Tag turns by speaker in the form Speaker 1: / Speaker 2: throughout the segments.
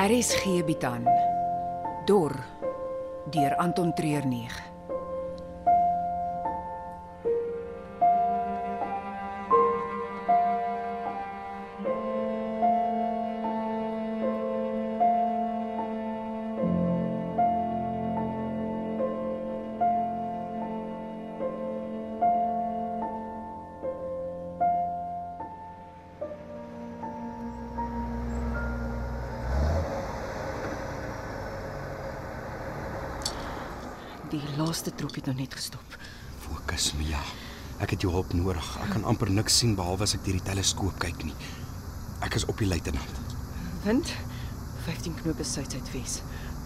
Speaker 1: RSG bied aan Dor deur Anton Treuer 9.
Speaker 2: Die laaste trok het nou net gestop.
Speaker 3: Fokus, Mia. Ek het jou hulp nodig. Ek kan amper niks sien behalwe as ek deur die teleskoop kyk nie. Ek is op die luitenant.
Speaker 2: Wind 15 knope suid-suidwes.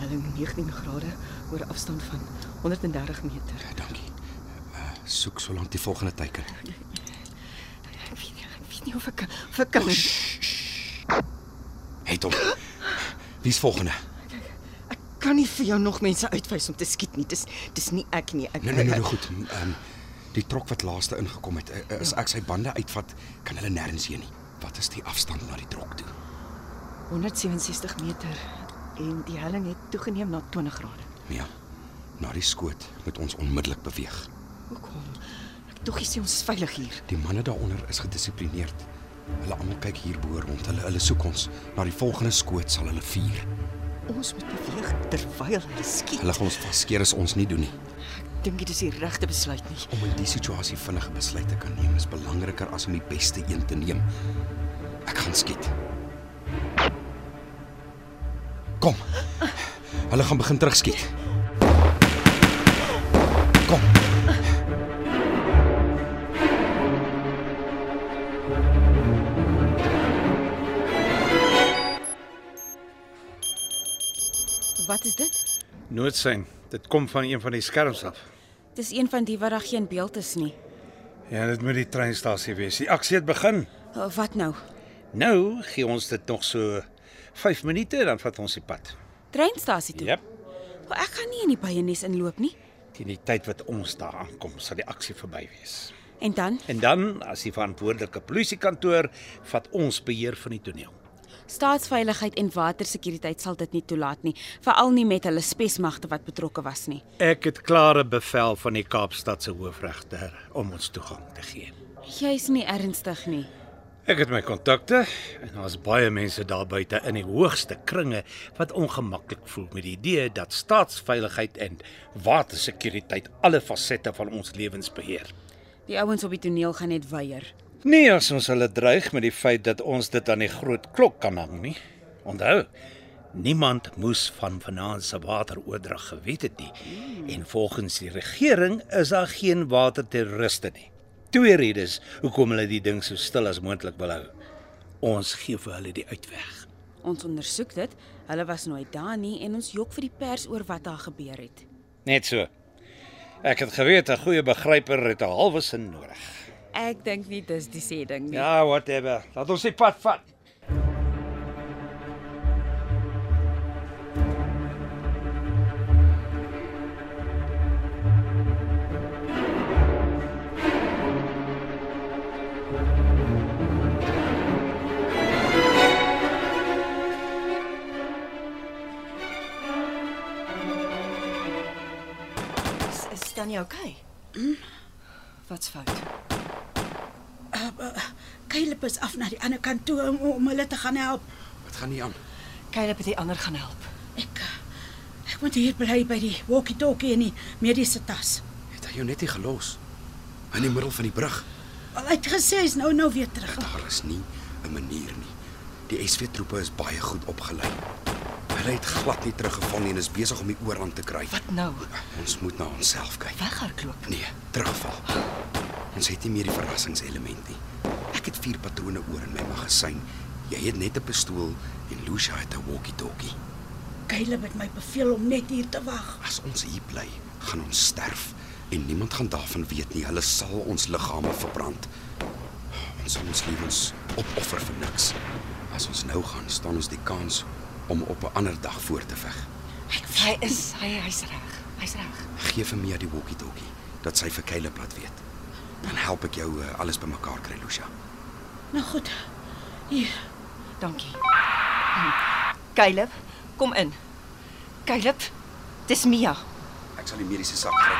Speaker 2: Hulle 19 grade oor 'n afstand van 130 meter.
Speaker 3: Ja, dankie. Uh, soek solank die volgende teiker.
Speaker 2: Ek weet nie, ek weet nie of ek of ek kan.
Speaker 3: Het hom. Wie's volgende?
Speaker 2: Ek kan nie vir jou nog mense uitwys om te skiet nie. Dis dis nie ek nie. Ek
Speaker 3: Nee, nee, nee, nee, goed. Ehm um, die trok wat laaste ingekom het, eh, as ek sy bande uitvat, kan hulle nêrens heen nie. Wat is die afstand na die trok toe?
Speaker 2: 167 meter en die helling het toegeneem na 20 grade.
Speaker 3: Mia. Na die skoot moet ons onmiddellik beweeg.
Speaker 2: Hoekom? Ek tog is ons veilig hier.
Speaker 3: Die manne daaronder is gedissiplineerd. Hulle almal kyk hierbo rond. Hulle hulle soek ons. Na die volgende skoot sal hulle vuur.
Speaker 2: Ons moet beweeg terwyl hulle skiet.
Speaker 3: Hulle gaan ons vaskeer as ons nie doen nie.
Speaker 2: Ek dink dit is die regte besluit nie.
Speaker 3: Om in die situasie vinnige besluite kan neem is belangriker as om die beste een te neem. Ek gaan skiet. Kom. Hulle gaan begin terugskiet. Kom.
Speaker 4: Wat is dit?
Speaker 5: Noodsein. Dit kom van een van die skerms af.
Speaker 4: Dis een van die wat daar geen beeld is nie.
Speaker 5: Ja, dit moet die treinstasie wees. Die aksie het begin.
Speaker 4: Uh, Wat nou?
Speaker 5: Nou gee ons dit nog so 5 minute en dan vat ons die pad.
Speaker 4: Treinstasie toe. Maar Ek gaan nie in die byenes inloop nie.
Speaker 5: Teen die tyd wat ons daar aankom, sal die aksie verby wees.
Speaker 4: En dan
Speaker 5: En dan, as die verantwoordelike polisiekantoor, vat ons beheer van die toneel.
Speaker 4: staatsveiligheid en watersekuriteit sal dit nie toelaat nie, veral nie met hulle spesmagte wat betrokke was nie.
Speaker 5: Ek het klare bevel van die Kaapstad se hoofregter om ons toegang te gee.
Speaker 4: Jy's nie ernstig nie.
Speaker 5: Ek het my kontakte en daar's baie mense daar buite in die hoogste kringe wat ongemaklik voel met die idee dat staatsveiligheid en watersekuriteit alle fasette van ons lewens beheer.
Speaker 4: Die ouens op die toneel gaan net weier.
Speaker 5: Nie as ons hulle dreig met die feit dat ons dit aan die groot klok kan hang nie. Onthou, niemand moes van vanaand se wateroordrag geweet het nie en volgens die regering is daar geen waterterroriste nie. Twee redes hoekom hulle die ding so stil as moontlik wil hou. Ons gee vir hulle die uitweg.
Speaker 4: Ons ondersoek dit. Hulle was nooit daar nie en ons jok vir die pers oor wat daar gebeur het.
Speaker 5: Net so. Ek het geweet 'n goeie begryper het 'n halwe sin nodig.
Speaker 4: Ek dink nie dis die sê ding nie.
Speaker 5: Ja, whatever. Laat ons die pad vat.
Speaker 2: Is, is dan nie okay? Mm. Wat's fout?
Speaker 6: Caleb is af na die ander kant toe om, om hulle te gaan help.
Speaker 3: Wat gaan nie aan?
Speaker 2: Caleb het die ander gaan help.
Speaker 6: Ek ek moet hier bly by die walkie-talkie en die mediese tas.
Speaker 3: Het hy jou net nie gelos in die middel van die brug?
Speaker 6: Al hy het gesê hy's nou nou weer terug.
Speaker 3: Daar is nie 'n manier nie. Die SW troepe is baie goed opgelei. Hulle het glad nie teruggeval nie en is besig om die oorhand te kry.
Speaker 2: Wat nou?
Speaker 3: Ons moet na onsself kyk.
Speaker 2: Weghardloop.
Speaker 3: Nee, terugval. Ons het nie meer die verrassingselement nie. Ek het vier patrone oor in my magasyn. Jy het net 'n pistool en Lucia het 'n walkie-talkie.
Speaker 6: Caleb het my beveel om net hier te wag.
Speaker 3: As ons hier bly, gaan ons sterf en niemand gaan daarvan weet nie. Hulle sal ons liggame verbrand. Ons sal ons lewens opoffer vir niks. As ons nou gaan, staan ons die kans om op 'n ander dag voor te veg.
Speaker 2: Hy is hy hy's reg. Hy's reg.
Speaker 3: Gee vir Mia die walkie-talkie dat sy vir Caleb laat weet. Dan help ek jou eh, alles bymekaar kry, Lucia.
Speaker 6: Nou goed. Hier,
Speaker 2: Dankie. Caleb, kom in. Caleb, dis Mia.
Speaker 3: Ek sal die mediese sak gryp.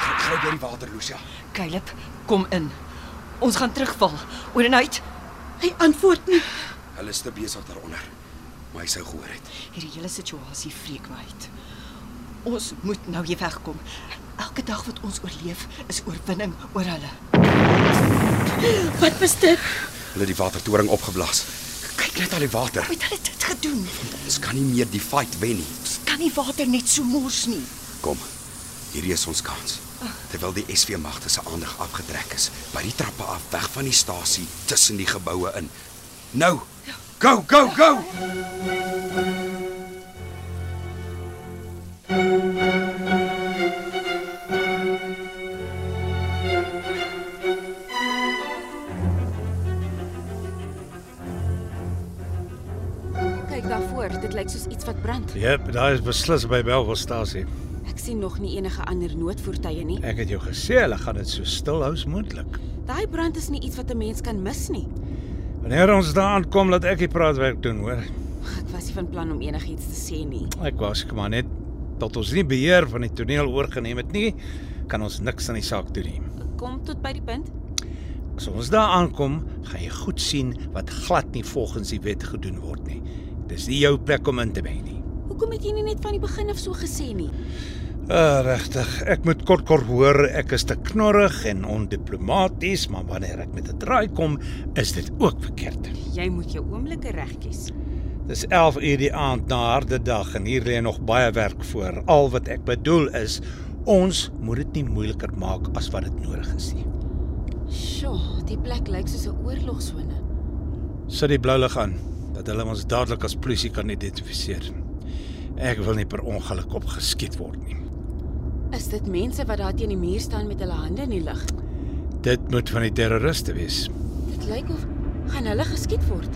Speaker 3: Gry- Gryp jy die water, Lucia?
Speaker 2: Caleb, kom in. Ons gaan terugval. Oornight,
Speaker 6: Hy antwoord nie.
Speaker 3: Hulle is te besig daaronder. Maar hy sou gehoor het.
Speaker 2: hierdie hele situasie vreek my uit. Ons moet nou hier wegkom. Elke dag wat ons oorleef is oorwinning oor hulle.
Speaker 6: Wat was dit?
Speaker 3: Hulle het die watertoring opgeblaas. Kyk net al die water.
Speaker 2: Hoe het hulle dit gedoen?
Speaker 3: Ons kan nie meer die fight wen nie.
Speaker 2: Ons kan nie water net so mors nie.
Speaker 3: Kom. Hierdie is ons kans. Terwyl die SV magte se aandag afgetrek is, by die trappe af, weg van die stasie, tussen die geboue in. Nou. Go, go, go.
Speaker 4: Kyk daarvoor, dit lyk soos iets wat brand.
Speaker 5: Jep, daar is beslis by Belwelstasie.
Speaker 4: Ek sien nog nie enige ander noodvoertuie nie.
Speaker 5: Ek het jou gesê hulle gaan dit so stil hou as moontlik.
Speaker 4: Daai brand is nie iets wat 'n mens kan mis nie.
Speaker 5: Wanneer ons daar aankom, laat ek die praatwerk doen, hoor.
Speaker 4: Ek was nie van plan om enigiets te sê nie.
Speaker 5: Ek was kom maar net tot ons nie beheer van die toneel oorgeneem het nie, kan ons niks aan die saak doen nie.
Speaker 4: Kom tot by die punt.
Speaker 5: As ons daar aankom, gaan jy goed sien wat glad nie volgens die wet gedoen word nie. Dis nie jou plek om in te meng nie.
Speaker 4: Hoekom het jy nie net van die begin af so gesê nie?
Speaker 5: Ah, regtig. Ek moet kort kort hoor ek is te knorrig en ondiplomaties, maar wanneer ek met 'n draai kom, is dit ook verkeerd.
Speaker 4: Jy moet jou oomblikke reg kies.
Speaker 5: Dis 11 uur die aand na harde dag en hier lê nog baie werk voor. Al wat ek bedoel is, ons moet dit nie moeiliker maak as wat dit nodig is nie.
Speaker 4: Sjoe, die plek lyk soos 'n oorlogsone.
Speaker 5: Sit die blou lig aan dat hulle ons dadelik as polisie kan identifiseer. Ek wil nie per ongeluk opgeskiet word nie.
Speaker 4: Is dit mense wat daar teen die muur staan met hulle hande in die lug?
Speaker 5: Dit moet van die terroriste wees.
Speaker 4: Dit lyk of gaan hulle geskiet word.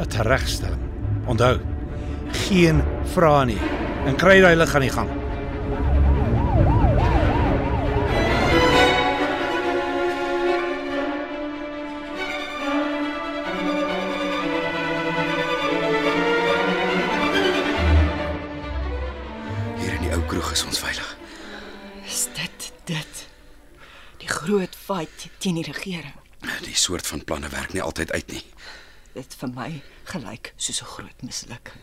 Speaker 5: 'n Teregstelling. Onthou, geen vrae nie. En kry daai lig aan die gang.
Speaker 3: Hier in die ou kroeg is ons veilig.
Speaker 2: Is dit dit? Die groot fight teen die regering.
Speaker 3: Die soort van planne werk nie altyd uit nie.
Speaker 2: Dit vir my gelyk soos 'n groot mislukking.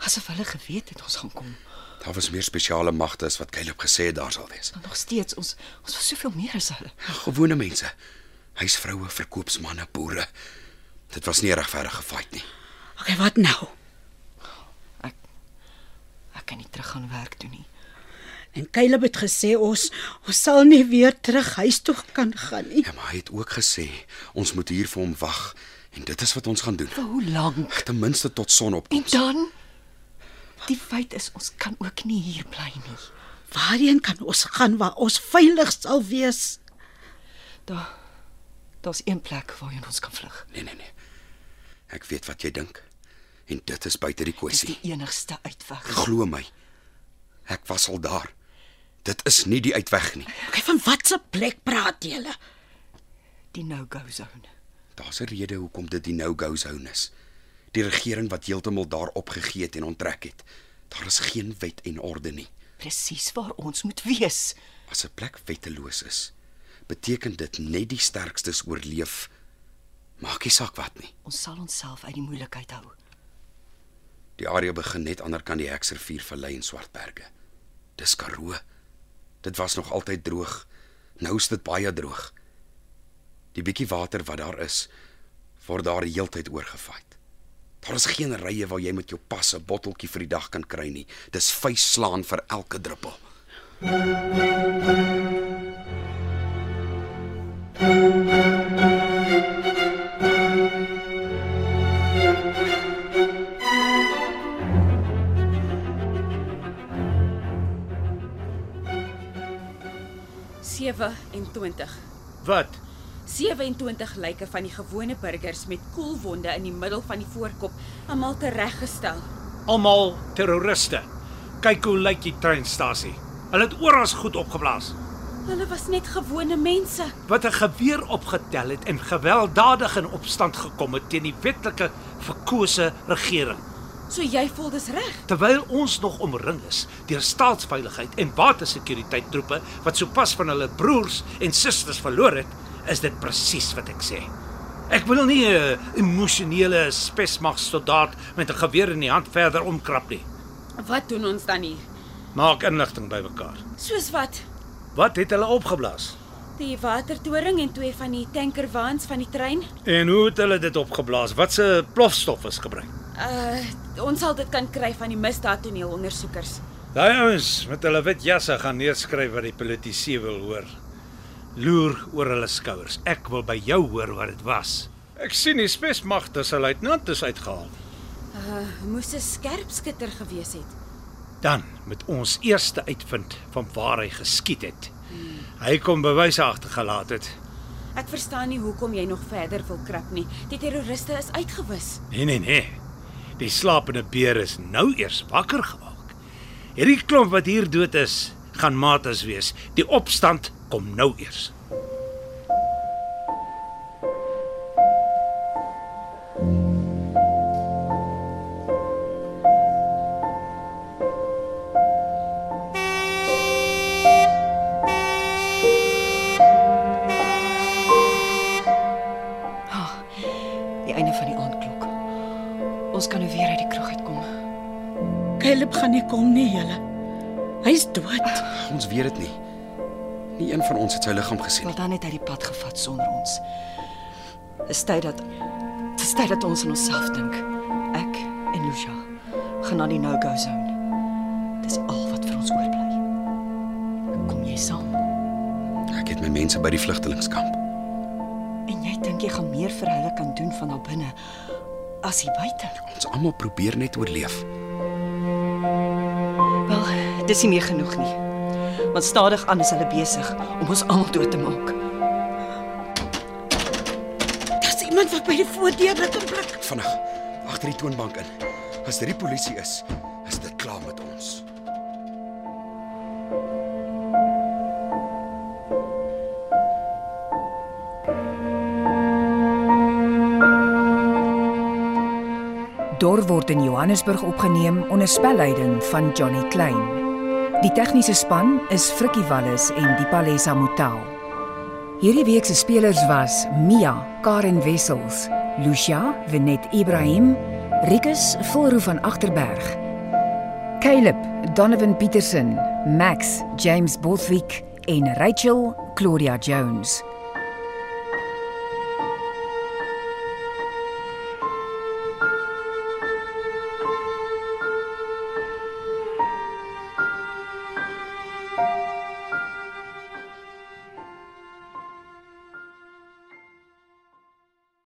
Speaker 2: Asof hulle geweet het ons gaan kom.
Speaker 3: Daar was meer spesiale magte as wat Caleb gesê het daar sal wees.
Speaker 2: Maar nog steeds ons ons was soveel meer as hulle.
Speaker 3: Gewone mense. Huisvroue, verkoopsmanne, boere. Dit was nie 'n regverdige fight nie.
Speaker 6: Okay, wat nou?
Speaker 2: Ek ek kan nie terug gaan werk toe nie.
Speaker 6: En Caleb het gesê ons ons sal nie weer terug huis toe kan gaan nie.
Speaker 3: Ja, maar hy het ook gesê ons moet hier vir hom wag en dit is wat ons gaan doen.
Speaker 2: Vir hoe lank?
Speaker 3: Ten minste tot
Speaker 2: En
Speaker 3: sonopkoms.
Speaker 2: dan die feit is ons kan ook nie hier bly nie.
Speaker 6: Waarheen kan ons gaan waar ons veilig sal wees?
Speaker 2: Daar daar's een plek waarheen ons kan vlug.
Speaker 3: Nee, nee, nee. Ek weet wat jy dink. En dit is buite die
Speaker 2: Dis die
Speaker 3: kwessie.
Speaker 2: enigste uitweg.
Speaker 3: Glo my. Ek was al daar. Dit is nie die uitweg nie.
Speaker 6: Okay, van watse plek praat julle?
Speaker 2: Die no-go zone.
Speaker 3: Daar's 'n rede hoekom dit die no-go zone is. Die regering wat heeltemal daar opgegee het en onttrek het. Daar is geen wet en orde nie.
Speaker 2: Presies waar ons moet wees.
Speaker 3: As 'n plek wetteloos is, beteken dit net die sterkstes oorleef. Maak nie saak wat nie.
Speaker 2: Ons sal onsself uit die moeilikheid hou.
Speaker 3: Die area begin net ander kan die Heksrivier verlei in Swartberge. Dis Karoo. Dit was nog altyd droog. Nou is dit baie droog. Die bietjie water wat daar is, word daar die heeltyd oorgevaai. Daar is geen rye waar jy met jou pas 'n botteltjie vir die dag kan kry nie. Dis vyf slaan vir elke druppel.
Speaker 4: Sewe en 20.
Speaker 5: Wat?
Speaker 4: 27 lyke van die gewone burgers met koelwonde in die middel van die voorkop, almal tereggestel.
Speaker 5: Almal terroriste. Kyk hoe lyk die treinstasie. Hulle het oral goed opgeblaas.
Speaker 4: Hulle was net gewone mense.
Speaker 5: Wat 'n geweer opgetel het en gewelddadig in opstand gekom het teen die wetlike verkose regering.
Speaker 4: So jy voel dis reg.
Speaker 5: terwyl ons nog omring is deur staatsveiligheid en watersekuriteit troepe wat sopas van hulle broers en susters verloor het, is dit presies wat ek sê. Ek wil nie 'n emosionele spesmagsoldaat met 'n geweer in die hand verder omkrap nie.
Speaker 4: Wat doen ons dan hier?
Speaker 5: Maak inligting bymekaar.
Speaker 4: Soos wat
Speaker 5: Wat het hulle opgeblaas?
Speaker 4: die watertoring en twee van die tankerwaans van die trein.
Speaker 5: En hoe het hulle dit opgeblaas? Watse plofstof is gebruik?
Speaker 4: Uh ons sal dit kan kry van die misdaadtoneelondersoekers.
Speaker 5: Daai ouens met hulle wit jasse gaan neerskryf wat die politici wil hoor. Loer oor hulle skouers. Ek wil by jou hoor wat dit was. Ek sien die spesmagte se luitenant is uitgehaal.
Speaker 4: Uh moes 'n skerp skitter gewees het.
Speaker 5: Dan moet ons eers uitvind van waar hy geskiet het. Hy kom bewyse agtergelaat het.
Speaker 4: Ek verstaan nie hoekom jy nog verder wil krap nie. Die terroriste is uitgewis.
Speaker 5: Nee nee nee. Die slapende beer is nou eers wakker gemaak. Hierdie klomp wat hier dood is, gaan matas wees. Die opstand kom nou eers.
Speaker 2: Die einde van die aandklok. Ons kan nou weer uit die kroeg uitkom.
Speaker 6: Caleb gaan nie kom nie, julle. Hy's dood.
Speaker 3: Ons weet dit nie. Nie een van ons het sy liggaam gesien
Speaker 2: Wel
Speaker 3: nie.
Speaker 2: dan het hy die pad gevat sonder ons. Dis tyd dat dis tyd dat ons aan onsself dink. Ek en Lucia gaan na die no-go zone. Dis al wat vir ons oorbly. Kom jy saam?
Speaker 3: Ek het my mense by die vlugtelingkamp.
Speaker 2: En jy dink jy gaan meer vir hulle kan doen van daar binne as hier buite?
Speaker 3: Ons almal probeer net oorleef.
Speaker 2: Wel, dis nie meer genoeg nie. Want stadig aan is hulle besig om ons almal dood te maak.
Speaker 6: Daar's iemand wat by die voordeur blik en blik.
Speaker 3: Vinnig agter die toonbank in. As dit die polisie is, is dit klaar met ons.
Speaker 1: Dor word in Johannesburg opgeneem onder spelleiding van Johnny Klein. Die tegniese span is Frikkie Wallis en Dipalesa Motelo. Hierdie week se spelers was Mia, Karen Wessels, Lucia, Wenet Ibrahim, Rikus Volroo van Agterberg, Caleb, Donovan Petersen, Max, James Bothwick en Rachel Claudia Jones.